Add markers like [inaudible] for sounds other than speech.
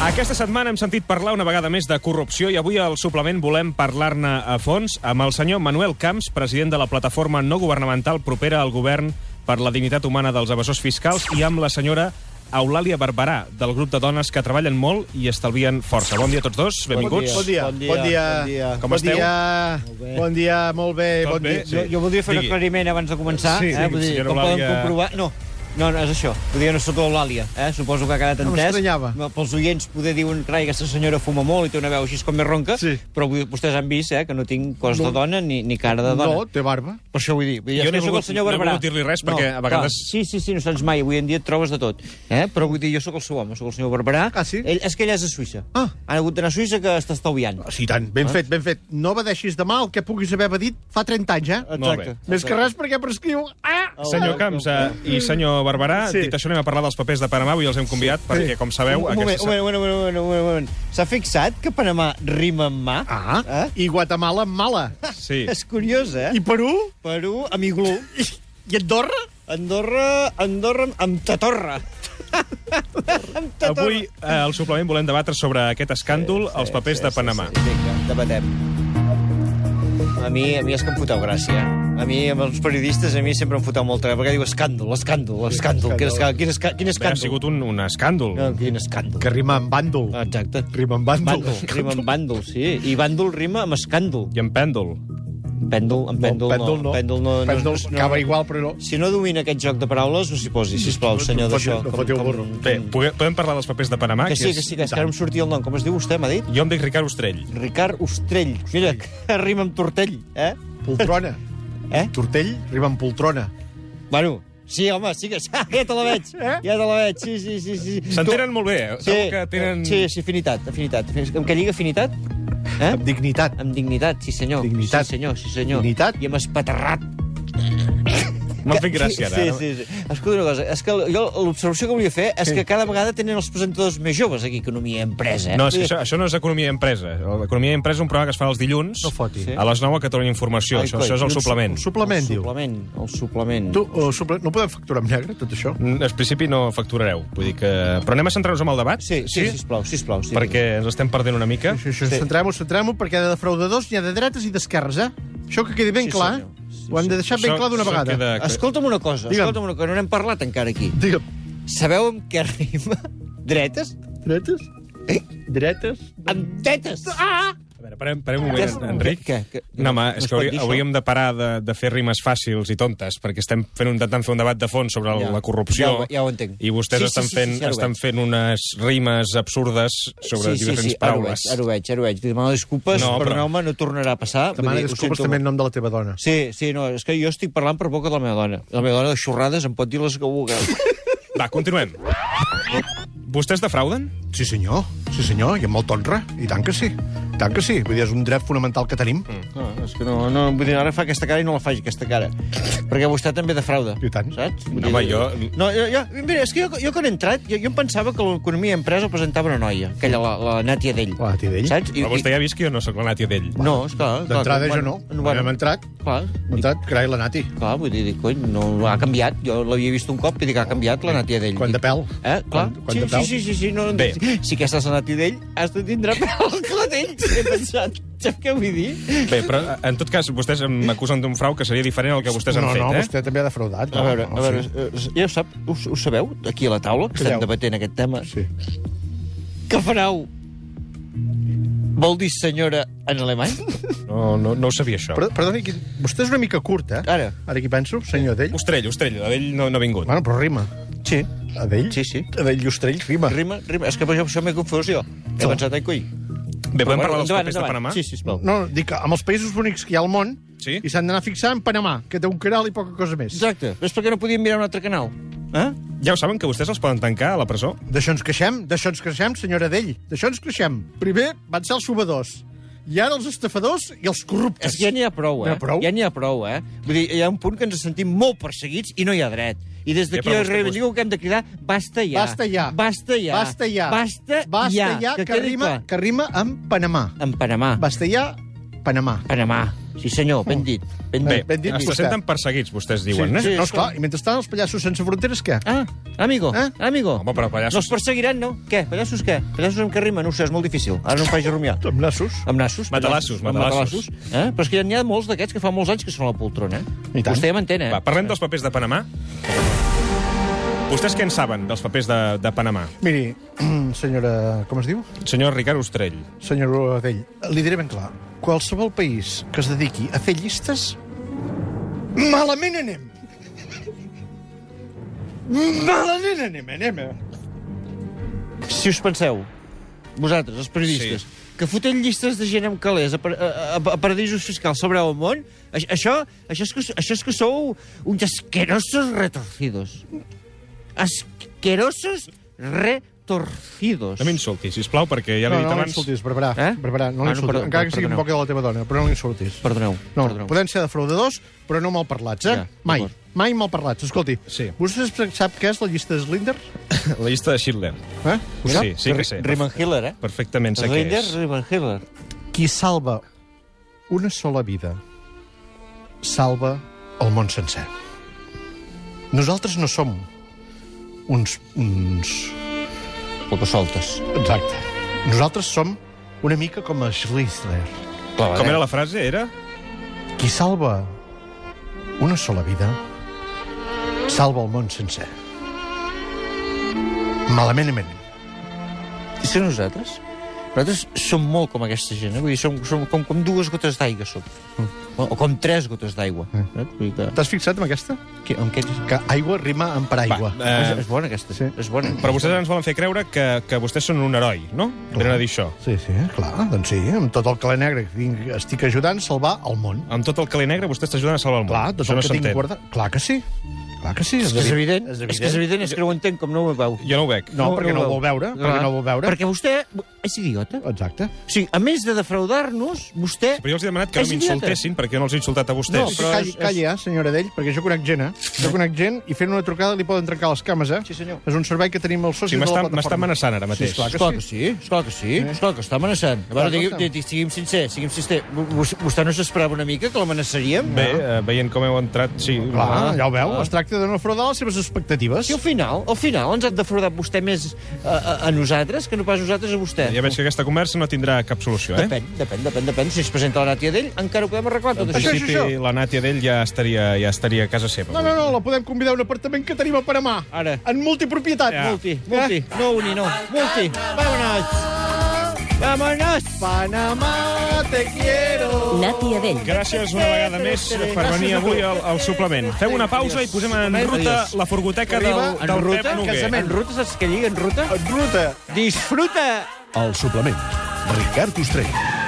Aquesta setmana hem sentit parlar una vegada més de corrupció i avui al suplement volem parlar-ne a fons amb el senyor Manuel Camps, president de la plataforma no governamental propera al govern per la dignitat humana dels evasors fiscals i amb la senyora Eulàlia Barberà, del grup de dones que treballen molt i estalvien força. Bon dia a tots dos, benvinguts. Bon dia. Bon dia, Bon dia. bon dia. Com bon esteu? Dia. Molt bé. Bon dia, molt bé. Tot bon bé? dia. Sí. Jo, jo voldria fer un Digui. aclariment abans de començar. Sí, eh? digui, Vull dir, senyora com poden Eulàlia. comprovar... No, no, no, és això. Vull dir, no sóc l'Eulàlia, eh? suposo que ha quedat No entès. m'estranyava. No, Pels oients poder diuen, carai, aquesta senyora fuma molt i té una veu així com més ronca, Sí. però vull, vostès han vist eh, que no tinc cos No. de dona ni, ni cara de dona. No, té barba. Per això vull dir. Vull dir Jo no he sóc volgut- el senyor no he Barberà. volgut dir-li res, perquè a vegades- Clar, sí, sí, sí, no saps mai. Avui en dia et trobes de tot. Eh? Però vull dir, jo sóc el seu home, sóc el senyor Barberà. Ah, sí? Ell, és que ell és de Suïssa. Ah. Han hagut d'anar a Suïssa que està estalviant. Sí, tant. Ben fet, ben fet. No obedeixis de mal que puguis haver dit fa 30 anys, Ah, eh? Molt bé. Més que res perquè prescriu... Ah! Senyor Camps eh, i senyor Barberà, Sí. dit això anem a parlar dels papers de Panamà, avui els hem convidat perquè, com sabeu... un, moment, aquesta un moment, un moment, un moment, un moment, un moment. S'ha fixat que Panamà rima amb mà? Ah, eh? Eh? i Guatemala amb mala. Sí. És curiós, eh? I Perú? Perú amb iglú. I, i Andorra? Andorra, Andorra amb tatorra. amb tatorra. Avui, eh, al suplement, volem debatre sobre aquest escàndol, els papers de Panamà. Sí, sí, vinga, debatem. A mi, a mi és que em foteu gràcia. A mi, amb els periodistes, a mi sempre em foteu molta gràcia, perquè diu escàndol, escàndol, escàndol, quin escàndol, quin escàndol. Quin Bé, ha escàndol. sigut un, un escàndol. No, quin escàndol. Que rima amb bàndol. Ah, Exacte. Rima amb bàndol. Bàndol, rima amb bàndol, sí. I bàndol rima amb escàndol. I en pèndol. Pèndol, en pèndol, no. pèndol no. Pèndol no, no, Pèndol no, acaba igual, però no. Si no domina aquest joc de paraules, no s'hi posi, sisplau, senyor No d'això. foteu- no Com- foteu com- burro. Bé, pugue- podem parlar dels papers de Panamà? Mm. Que sí, que sí, que és que ara em sortia el nom. Com es diu vostè, m'ha dit? Jo em dic Ricard Ostrell. Ricard Ostrell. Mira, que [laughs] rima amb tortell, eh? Poltrona. Eh? Tortell rima amb poltrona. Bueno, sí, home, sí [laughs] que... Ah, Ja te la veig, ja te la veig, sí, sí, sí. sí. S'entenen Tu- molt bé, eh? Segur que tenen... Sí, sí, afinitat, afinitat. Amb què lliga afinitat? Eh? Amb dignitat. Amb dignitat, sí senyor. Dignitat. Sí senyor, sí senyor. Dignitat. I amb espaterrat. M'han fet gràcia, ara. Sí, sí, sí. Escolta una cosa, és que jo l'observació que volia fer és que cada vegada tenen els presentadors més joves aquí, Economia i Empresa. eh? No, és que això, això no és Economia i Empresa. Economia i Empresa és un programa que es fa els dilluns No foti. a les 9 a Catalunya Informació. Ai, això, coi, això és el un su- suplement. un suplement, el diu. suplement, el suplement. Tu, o suple... No podem facturar amb negre, tot això? Mm, Al principi no facturareu. Vull dir que... Però anem a centrar-nos en el debat? Sí, sí, sí, sisplau, sisplau. Sí, Perquè ens estem perdent una mica. Això, això, sí. Centrem-ho, centrem-ho, perquè de defraudadors n'hi ha de dretes i d'esquerres, eh? Això que quedi ben Sí, clar, senyor. eh? Sí, Ho hem de deixar ben Això- clar d'una això vegada. queda- Escolta'm una cosa, Digue'm. escolta'm una cosa, no n'hem parlat encara aquí. Digue'm, Sabeu amb què rima? Dretes? dretes? Eh? Dretes? Amb tetes! Ah! A veure, parem, parem un moment, Què- Enric. què- què- no, home, no és es que pot haurí, dir això. hauríem de parar de, de fer rimes fàcils i tontes, perquè estem fent un, intentant fer un debat de fons sobre Ja. la corrupció. Ja ho- ja ho entenc. I vostès Sí, sí, estan, sí, sí, fent, sí, ara ho estan veig. fent unes rimes absurdes sobre sí, sí, diferents sí, ara ho paraules. veig, ara ho veig, ara ho veig. Demano disculpes, No, no, però- perdoneu-me, no tornarà a passar. Vull Demana dir, ho disculpes sento també molt. en nom de la teva dona. Sí, sí, no, és que jo estic parlant per boca de la meva dona. La meva dona de xorrades em pot dir les que vulgui. Va, continuem. Vostès defrauden? Sí, senyor. Sí, senyor, i amb molta honra. I tant que sí. I tant que sí. Vull dir, és un dret fonamental que tenim. Mm. No, Ah, és que no, no, vull dir, ara fa aquesta cara i no la faig, aquesta cara. Perquè vostè també defrauda. I tant. Saps? No, home, jo- No, jo, jo, mira, és que jo, jo quan he entrat, jo, jo em pensava que l'economia empresa el presentava una noia, aquella, la, la Nàtia d'ell. La Nàtia Dell? Saps? I, Però vostè ja ha vist que jo no sóc la nàtia d'ell. i, no, esclar. clar, D'entrada clar, jo no. Bueno, Quan hem bueno, entrat, clar, hem entrat, carai, la Nati. clar, vull dir, dic, cony, no, ha canviat. Jo l'havia vist un cop i dic, ha canviat la Nàtia d'ell. Quan de Dic, pèl. Eh, clar. Quan- quan sí, de pèl. sí, sí, sí, sí, no, no, Bé. si aquesta és la Nàtia d'ell, has de [laughs] tindre pèl clatell, he pensat. Saps què vull dir? Bé, però en tot cas, vostès m'acusen d'un frau que seria diferent al que vostès no, han fet, no, eh? vostè també ha defraudat. A veure, No, a no, veure, sí. eh, ja ho, sap, ho, ho sabeu, aquí a la taula, que estem Calleu. debatent aquest tema. Sí. Què fareu? Vol dir senyora en alemany? No, no, no ho sabia, això. Però, perdoni, que- vostè és una mica curt, eh? Ara. Ara aquí penso, senyor Adell. Ostrell, ostrell, a d'ell no, no ha vingut. Bueno, però rima. Sí. Adell? Sí, sí. Adell i Ostrell, rima. Rima, rima. És que per això m'he confós jo. He pensat, ai, coi. Bé, podem Però, parlar dels endavant, papers de endavant. Panamà? Sí, sisplau. No, dic que amb els països bonics que hi ha al món Sí. i s'han d'anar a fixar en Panamà, que té un canal i poca cosa més. Exacte. És perquè no podíem mirar un altre canal. Eh? Ja ho saben, que vostès els poden tancar a la presó? D'això ens queixem, d'això ens queixem, senyora Dell, d'això ens queixem. Primer van ser els subadors, i ara els estafadors i els corruptes. És que ja n'hi ha prou, eh? N'hi ha prou? Ja n'hi ha prou, eh? Vull dir, hi ha un punt que ens sentim molt perseguits i no hi ha dret. I des d'aquí Ja, però ja, vostè- reivindico que hem de cridar basta ja. Basta ja. Basta ja. Basta ja. Basta, Basta ja, que, quedi rima, clar. que rima amb Panamà. En Panamà. Basta ja Panamà. Panamà. Sí, senyor, ben dit. Ben Bé, dit. Eh, ben dit, se vostè. senten perseguits, vostès diuen, sí, eh? sí, no, esclar, i mentrestant els pallassos sense fronteres, què? Ah, amigo, Eh? eh? amigo. Home, però pallassos- No els perseguiran, no? Què? Pallassos què? Pallassos amb què rimen? No ho sé, és molt difícil. Ara no em faig rumiar. Amb nassos. Amb nassos. Matalassos, Amb matalassos. Eh? Però és que ja n'hi ha molts d'aquests que fa molts anys que són a la poltrona. I tant. Vostè ja m'entén, eh? Va, parlem dels papers de Panamà. Vostès què en saben dels papers de, de Panamà? Miri, [clears throat] senyora... Com es diu? Senyor Ricard Ostrell. Senyor Adell, li diré ben clar. Qualsevol país que es dediqui a fer llistes, malament anem. Malament anem, eh, anem. Si us penseu, vosaltres, els periodistes, sí. que foten llistes de gent amb calés a, par- a, a, a paradisos fiscals sobre el món, a- això, això, és que, això és que sou uns asquerosos retorcidos. Asquerosos retorcidos. No m'insulti, sisplau, perquè ja No, l'he dit no, no abans... l'insultis, Barberà. Eh? Eh? Barberà, no Ah, no, l'insultis. perdó, Encara que sigui un perdoneu. poc de la teva dona, però no l'insultis. Perdoneu, No, perdoneu. podem ser defraudadors, però no malparlats, eh? Ja, mai, d'acord. mai malparlats. Escolti, Sí. vostè sap què és la llista de Slinder? La llista de Schindler. Eh? Ho sap? Sí, sí que sé. Riemann Hiller, eh? Perfectament sé què Rinder, és. Riemann Hiller. Qui salva una sola vida salva el món sencer. Nosaltres no som uns... uns... Pocosoltes. Exacte. Nosaltres som una mica com a Schlichter. Com era la frase, era? Qui salva una sola vida salva el món sencer. Malament anem. I ser nosaltres? Nosaltres som molt com aquesta gent, eh? Vull dir, som, som com, com dues gotes d'aigua, som. O, Mm. o com tres gotes d'aigua. Eh? Vull dir que... T'has fixat en aquesta? que, amb què... Que aigua rima amb paraigua. Va, Va, Eh... Eh, És, és bona, aquesta. sí. Sí. És bona. Però vostès ens volen fer creure que, que vostès són un heroi, no? Venen a dir això. Sí, sí, clar, doncs sí, amb tot el calé negre que tinc, estic ajudant a salvar el món. Amb tot el caler negre vostès t'ajuden a salvar el món. Clar, tot això el Doncs no que tinc s'entén. guardat... Clar que sí. Clar que sí. És que és evident. És És, evident. que és evident, és que no ho entenc com no ho veu. Jo no ho veig. No, perquè no ho vol veure, Clar. perquè no ho vol veure. Perquè vostè és idiota. Exacte. O sigui, a més de defraudar-nos, vostè... Però jo els he demanat que no És idiota. m'insultessin, perquè jo no els he insultat a vostès. No, Sí, però calli, és- calli, eh, senyora Dell, perquè jo conec gent, eh? Jo conec gent i fent una trucada li poden trencar les cames, eh? Sí, senyor. És un servei que tenim els socis Sí, de la m'està- plataforma. m'està amenaçant ara mateix. Sí, esclar Esclar que que sí. sí, esclar que sí, esclar que està amenaçant. A veure, que digui, està. digui, siguim sincers, siguim sincers. Vos- Vostè no s'esperava una mica que l'amenaçaríem? Bé, eh, veient com heu entrat, sí. Ah. Clar, Ah. ja ho veu, es tracta de no fraudar les seves expectatives. Si al final, al final ens ha defraudat vostè més a, a, a nosaltres que no pas nosaltres a vostè. Ja veig que aquesta conversa no tindrà cap solució, eh? Depèn, depèn, depèn, depèn. Si es presenta la nàtia d'ell, encara ho podem arreglar tot En això. principi, això. la Nàtia d'ell ja estaria, ja estaria a casa seva. No, no, no, la podem convidar a un apartament que tenim a Panamà. Ara. En multipropietat. Eh? Ja. Multi, multi, Ah. no uni, no, multi. Vámonos. Vámonos. Panamà, te quiero. Nati Adell. Gràcies una vegada més per venir avui al, al suplement. Fem una pausa i posem en ruta la furgoteca del, Arriba, del Pep ruta, Noguer. casament. En ruta, saps què lliga en ruta? Ruta. Disfruta! El suplement. Ricard Ostrell.